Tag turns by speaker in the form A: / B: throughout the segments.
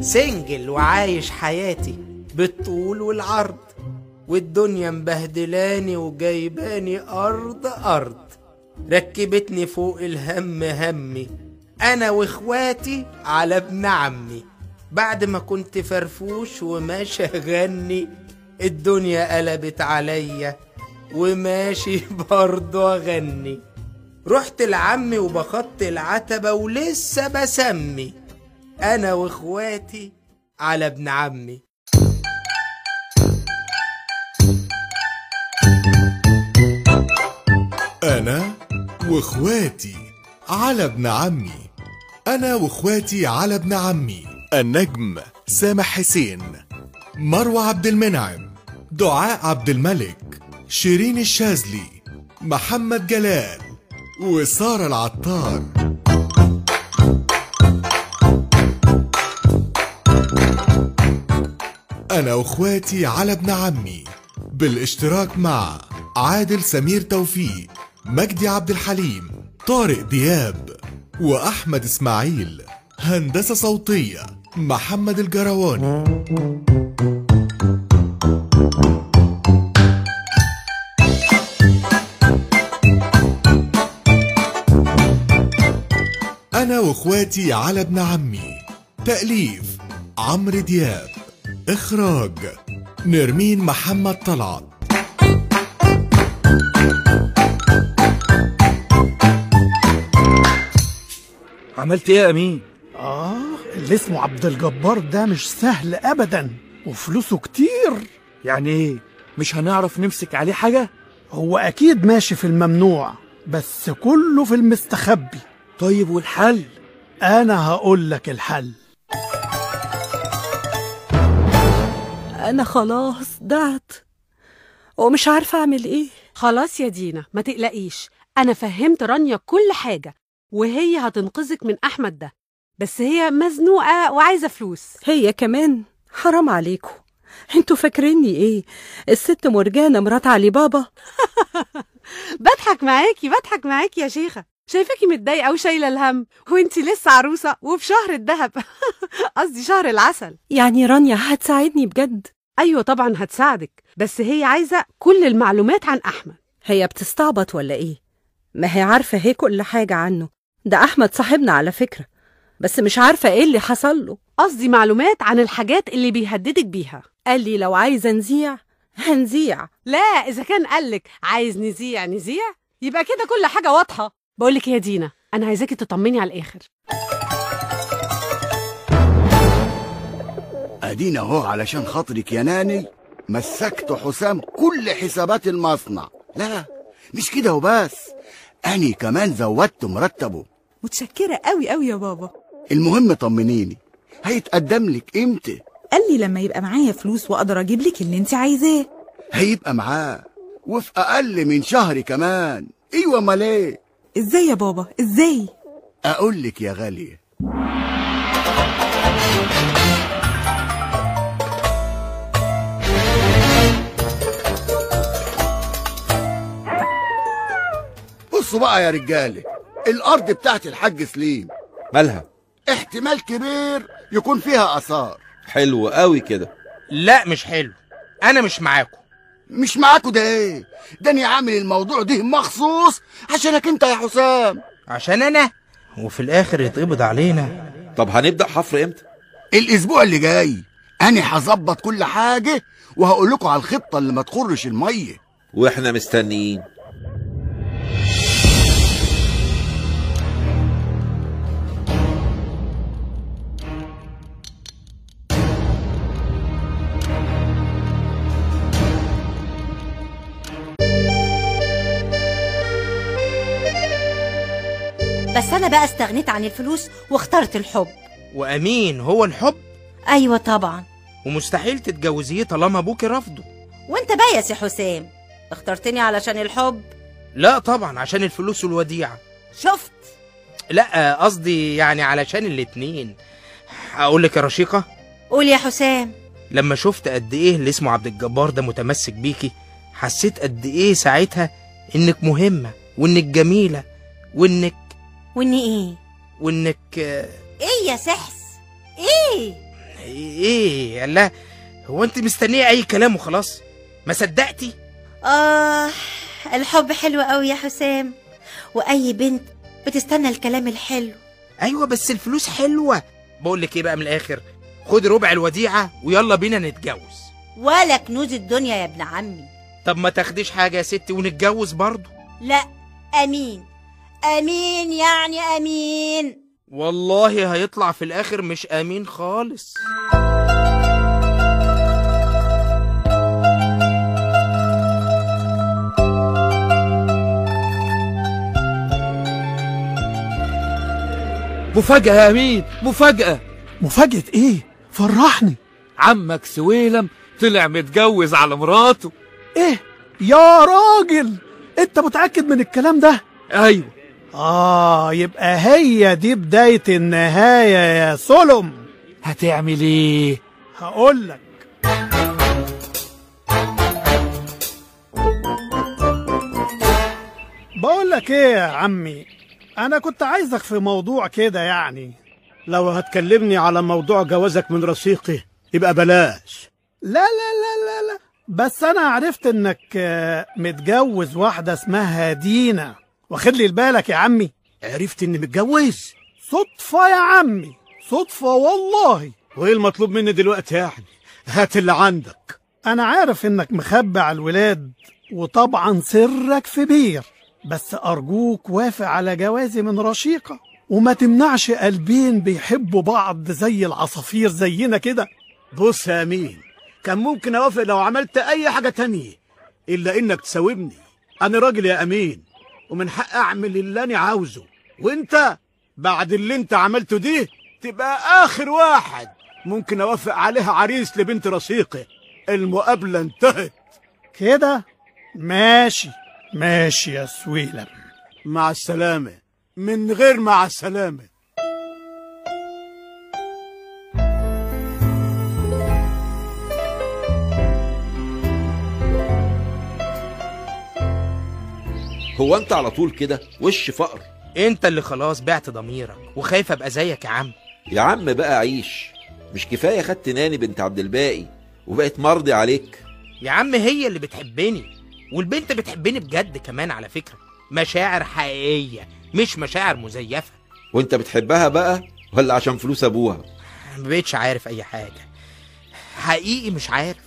A: سنجل وعايش حياتي بالطول والعرض والدنيا مبهدلاني وجايباني أرض أرض ركبتني فوق الهم همي أنا وإخواتي على ابن عمي بعد ما كنت فرفوش وماشي أغني الدنيا قلبت عليا وماشي برضه أغني رحت لعمي وبخط العتبة ولسه بسمي أنا وإخواتي على ابن عمي
B: أنا وإخواتي على ابن عمي أنا وإخواتي على ابن عمي النجم سامح حسين مروة عبد المنعم دعاء عبد الملك شيرين الشاذلي محمد جلال وسارة العطار أنا وإخواتي على ابن عمي بالاشتراك مع عادل سمير توفيق مجدي عبد الحليم طارق دياب وأحمد إسماعيل هندسة صوتية محمد الجرواني أنا وإخواتي على ابن عمي تأليف عمرو دياب إخراج نرمين محمد طلعت
C: عملت ايه يا امين
D: آه اللي اسمه عبد الجبار ده مش سهل أبدا وفلوسه كتير
C: يعني ايه مش هنعرف نمسك عليه حاجه
D: هو أكيد ماشي في الممنوع بس كله في المستخبي
C: طيب والحل
D: أنا هقول لك الحل
E: أنا خلاص ضعت ومش عارفة أعمل إيه
F: خلاص يا دينا ما تقلقيش أنا فهمت رانيا كل حاجة وهي هتنقذك من أحمد ده بس هي مزنوقة وعايزة فلوس
E: هي كمان حرام عليكم انتوا فاكريني ايه الست مرجانه مرات علي بابا
F: بضحك معاكي بضحك معاكي يا شيخة شايفاكي متضايقة وشايلة الهم وانتي لسه عروسة وفي شهر الذهب قصدي شهر العسل
E: يعني رانيا هتساعدني بجد
F: أيوة طبعا هتساعدك بس هي عايزة كل المعلومات عن أحمد
E: هي بتستعبط ولا ايه ما هي عارفه هي كل حاجه عنه ده احمد صاحبنا على فكره بس مش عارفه ايه اللي حصل له
F: قصدي معلومات عن الحاجات اللي بيهددك بيها
E: قال لي لو عايزه نذيع هنذيع
F: لا إذا كان قالك عايز نذيع نذيع يبقى كده كل حاجة واضحة بقولك يا دينا أنا عايزاكي تطمني على الآخر
G: ادينا اهو علشان خاطرك يا ناني مسكت حسام كل حسابات المصنع لا مش كده وبس اني كمان زودت مرتبه
H: متشكرة قوي قوي يا بابا
G: المهم طمنيني هيتقدم لك امتى
H: قال لي لما يبقى معايا فلوس واقدر اجيب لك اللي انت عايزاه
G: هيبقى معاه وفي اقل من شهر كمان ايوه امال ايه
H: ازاي يا بابا ازاي
G: اقول لك يا غاليه بصوا بقى يا رجاله الارض بتاعت الحاج سليم
I: مالها
G: احتمال كبير يكون فيها اثار
I: حلو قوي كده
A: لا مش حلو أنا مش معاكم
G: مش معاكوا ده ايه ده انا عامل الموضوع ده مخصوص عشانك انت يا حسام
A: عشان أنا وفي الآخر يتقبض علينا
I: طب هنبدا حفر امتى
G: الاسبوع اللي جاي انا هظبط كل حاجه وهقول لكم على الخطه اللي ما تخرش الميه
I: واحنا مستنيين
J: بس أنا بقى استغنيت عن الفلوس واخترت الحب
A: وأمين هو الحب
J: أيوة طبعا
A: ومستحيل تتجوزيه طالما أبوكي رافضه
J: وأنت بايس يا حسام اخترتني علشان الحب
A: لا طبعا عشان الفلوس والوديعة
J: شفت
A: لا قصدي يعني علشان الاتنين أقولك يا رشيقة
J: قول يا حسام
A: لما شفت قد إيه اللي اسمه عبد الجبار ده متمسك بيكي حسيت قد إيه ساعتها إنك مهمة وإنك جميلة وإنك
J: وإني إيه
A: وإنك آه،
J: إيه يا سحس إيه
A: ايه قال لها هو انت مستنيه اي كلام وخلاص ما صدقتي
K: آه الحب حلو قوي يا حسام وأي بنت بتستنى الكلام الحلو
A: ايوه بس الفلوس حلوه بقول لك ايه بقى من الاخر خد ربع الوديعه ويلا بينا نتجوز
J: ولا كنوز الدنيا يا ابن عمي
A: طب ما تاخديش حاجه يا ستي ونتجوز برضه
J: لا امين امين يعني امين
A: والله هيطلع في الاخر مش امين خالص
C: مفاجأة يا أمين مفاجأة
D: مفاجأة إيه؟ فرحني
C: عمك سويلم طلع متجوز على مراته
D: إيه؟ يا راجل أنت متأكد من الكلام ده؟
C: أيوة
D: آه يبقى هي دي بداية النهاية يا سولم
C: هتعمل إيه؟
D: هقولك بقولك إيه يا عمي؟ أنا كنت عايزك في موضوع كده يعني
L: لو هتكلمني على موضوع جوازك من رفيقي يبقى بلاش
D: لا لا لا لا لا بس أنا عرفت إنك آه، متجوز واحدة اسمها دينا واخد لي بالك يا عمي
L: عرفت اني متجوز
D: صدفة يا عمي صدفة والله
L: وايه المطلوب مني دلوقتي يعني هات اللي عندك
D: أنا عارف إنك مخبع الولاد وطبعا سرك في بير بس أرجوك وافق على جوازي من رشيقة وما تمنعش قلبين بيحبوا بعض زي العصافير زينا كده
L: بص يا امين كان ممكن اوافق لو عملت اي حاجه تانية الا انك تساومني انا راجل يا امين ومن حق اعمل اللي انا عاوزه وانت بعد اللي انت عملته دي تبقى اخر واحد ممكن اوافق عليها عريس لبنت رشيقي المقابله انتهت
D: كده ماشي ماشي يا سويلم
L: مع السلامه من غير مع السلامه
I: هو انت على طول كده وش فقر
A: انت اللي خلاص بعت ضميرك وخايف ابقى زيك يا عم
I: يا عم بقى عيش مش كفايه خدت ناني بنت عبد الباقي وبقت مرضي عليك
A: يا عم هي اللي بتحبني والبنت بتحبني بجد كمان على فكرة مشاعر حقيقية مش مشاعر مزيفة
I: وانت بتحبها بقى ولا عشان فلوس ابوها
A: مبقتش عارف أي حاجة حقيقي مش عارف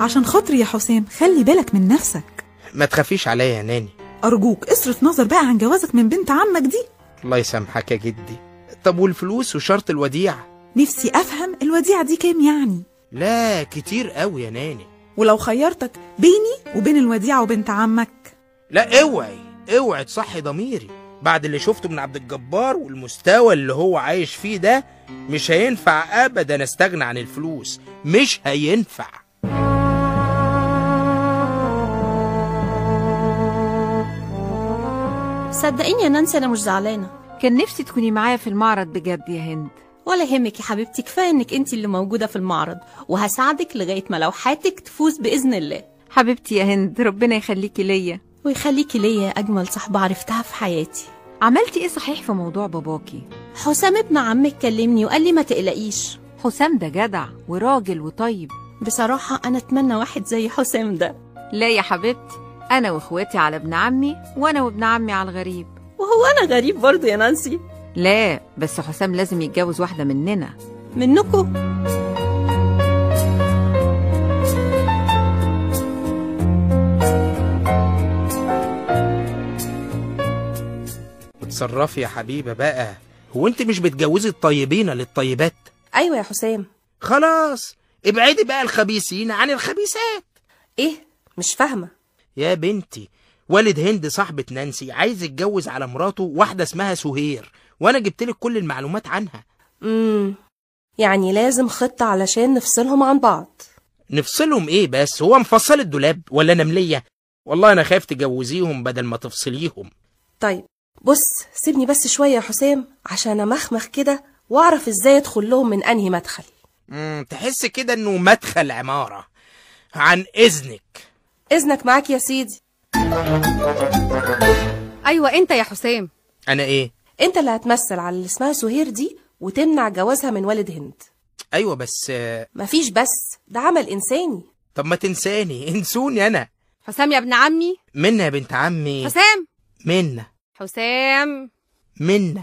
H: عشان خاطري يا حسام خلي بالك من نفسك
A: ما تخافيش عليا يا ناني
H: أرجوك اصرف نظر بقى عن جوازك من بنت عمك دي
A: الله يسامحك يا جدي طب والفلوس وشرط الوديعة
H: نفسي أفهم الوديعة دي كام يعني
A: لا كتير قوي يا ناني
H: ولو خيرتك بيني وبين الوديعة وبنت عمك
A: لا اوعي اوعي تصحي ضميري بعد اللي شفته من عبد الجبار والمستوى اللي هو عايش فيه ده مش هينفع ابدا استغنى عن الفلوس مش هينفع
M: صدقيني يا نانسي انا مش زعلانه
F: كان نفسي تكوني معايا في المعرض بجد يا هند
M: ولا يهمك يا حبيبتي كفايه انك انت اللي موجوده في المعرض وهساعدك لغايه ما لوحاتك تفوز باذن الله
F: حبيبتي يا هند ربنا يخليكي ليا
M: ويخليكي ليا اجمل صاحبه عرفتها في حياتي
F: عملتي ايه صحيح في موضوع باباكي
M: حسام ابن عمك كلمني وقال لي ما تقلقيش
F: حسام ده جدع وراجل وطيب
M: بصراحه انا اتمنى واحد زي حسام ده
F: لا يا حبيبتي انا واخواتي على ابن عمي وانا وابن عمي على الغريب
M: وهو انا غريب برضه يا نانسي
F: لا بس حسام لازم يتجوز واحده مننا
M: منكم
A: اتصرفي يا حبيبة بقى هو انت مش بتجوزي الطيبين للطيبات
N: أيوة
M: ايوه يا حسام
A: خلاص ابعدي بقى الخبيثين عن الخبيثات
N: إيه؟
M: ايه مش فاهمه
A: يا بنتي والد هند صاحبة نانسي عايز يتجوز على مراته واحدة اسمها سهير وأنا جبت لك كل المعلومات عنها
M: امم يعني لازم خطه علشان نفصلهم عن بعض
A: نفصلهم إيه بس هو مفصل الدولاب ولا أنا ملية والله أنا خايف تجوزيهم بدل ما تفصليهم
M: طيب بص سيبني بس شويه يا حسام عشان امخمخ كده واعرف ازاي ادخل لهم من انهي مدخل
A: مم، تحس كده انه مدخل عمارة عن اذنك
N: إذنك معاك يا سيدي
F: أيوة أنت يا حسام
A: انا ايه
N: أنت اللي هتمثل على اللي اسمها سهير دي وتمنع جوازها من والد هند
A: ايوه بس آه،
N: مفيش بس ده عمل إنساني
A: طب ما تنساني انسوني انا
F: حسام يا ابن عمي
A: منى يا بنت عمي
F: حسام
A: منى
F: حسام
A: منى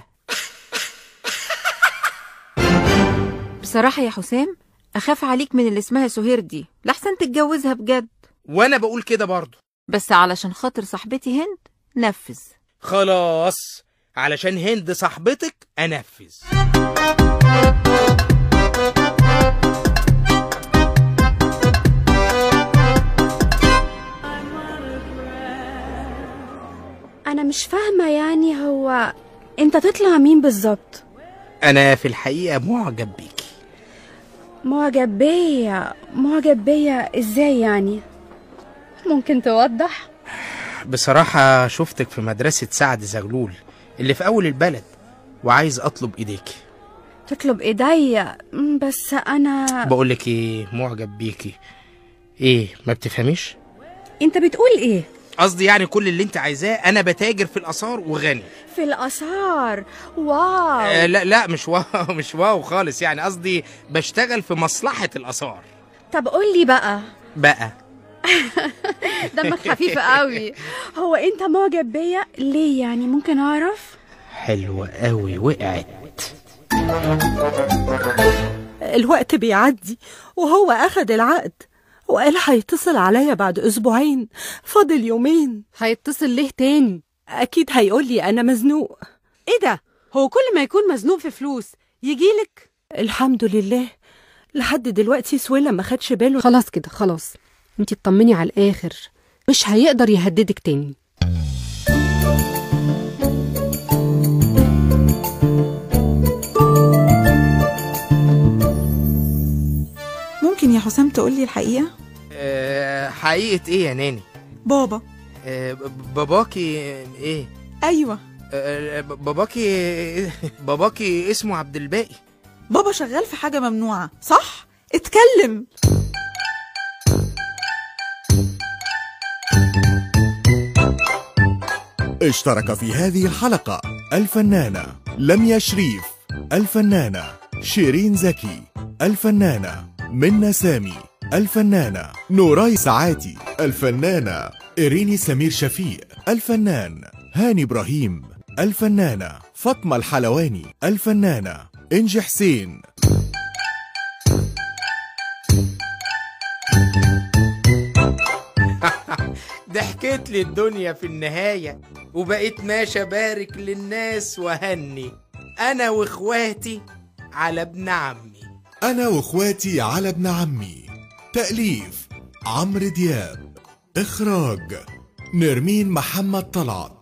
O: بصراحة يا حسام أخاف عليك من اللي اسمها سهير دي لحسن تتجوزها بجد
A: وانا بقول كده برضو
O: بس علشان خاطر صاحبتي هند نفذ
A: خلاص علشان هند صاحبتك انفذ
P: أنا مش فاهمة يعني هو أنت تطلع مين بالظبط؟
A: انا في الحقيقة معجب بيكي
P: معجب بيا معجب بيا إزاي يعني؟ ممكن توضح؟
A: بصراحة شفتك في مدرسة سعد زغلول اللي في اول البلد وعايز اطلب ايديكي
P: تطلب إيديا مم، بس أنا
A: بقولك ايه معجب بيكي ايه ما بتفهميش
P: أنت بتقول إيه؟
H: ايه؟
A: قصدي يعني كل اللي انت عايزاه انا بتاجر في الاثار وغني
P: في الآثار واو
A: آه لا لا مش واو مش واو خالص يعني قصدي بشتغل في مصلحة الاثار
P: طب قولي بقى
A: بقى
P: دمك خفيف قوي هو أنت معجب بيا ليه يعني ممكن أعرف؟
A: حلوة قوي وقعت
E: الوقت بيعدي وهو أخد العقد وقال هيتصل عليا بعد أسبوعين فاضل يومين
O: هيتصل ليه تاني؟
E: أكيد هيقولي أنا مزنوق
F: إيه ده؟ هو كل ما يكون مزنوق في فلوس يجيلك
E: الحمد لله لحد دلوقتي سويلة ما خدش باله
O: خلاص كده خلاص انت اطمني على الآخر مش هيقدر يهددك تاني
H: ممكن يا حسام تقولي الحقيقة؟
A: آه، حقيقة ايه يا ناني
H: بابا
A: آه، ب- باباكي آه، ايه
H: أيوة
A: آه، ب- باباكي إيه؟ باباكي اسمه عبد الباقي
H: بابا شغال في حاجة ممنوعة صح؟ اتكلم
B: اشترك في هذه الحلقة الفنانة لميا شريف الفنانة شيرين زكي الفنانة منى سامي الفنانة نوراي سعاتي الفنانة إريني سمير شفيق الفنان هاني إبراهيم الفنانة فاطمة الحلواني الفنانة إنجي حسين
A: ضحكت لي الدنيا في النهاية وبقيت ماشي أبارك للناس وهني أنا وإخواتي على ابن عمي
B: أنا وإخواتي على ابن عمي تأليف عمرو دياب إخراج نرمين محمد طلعت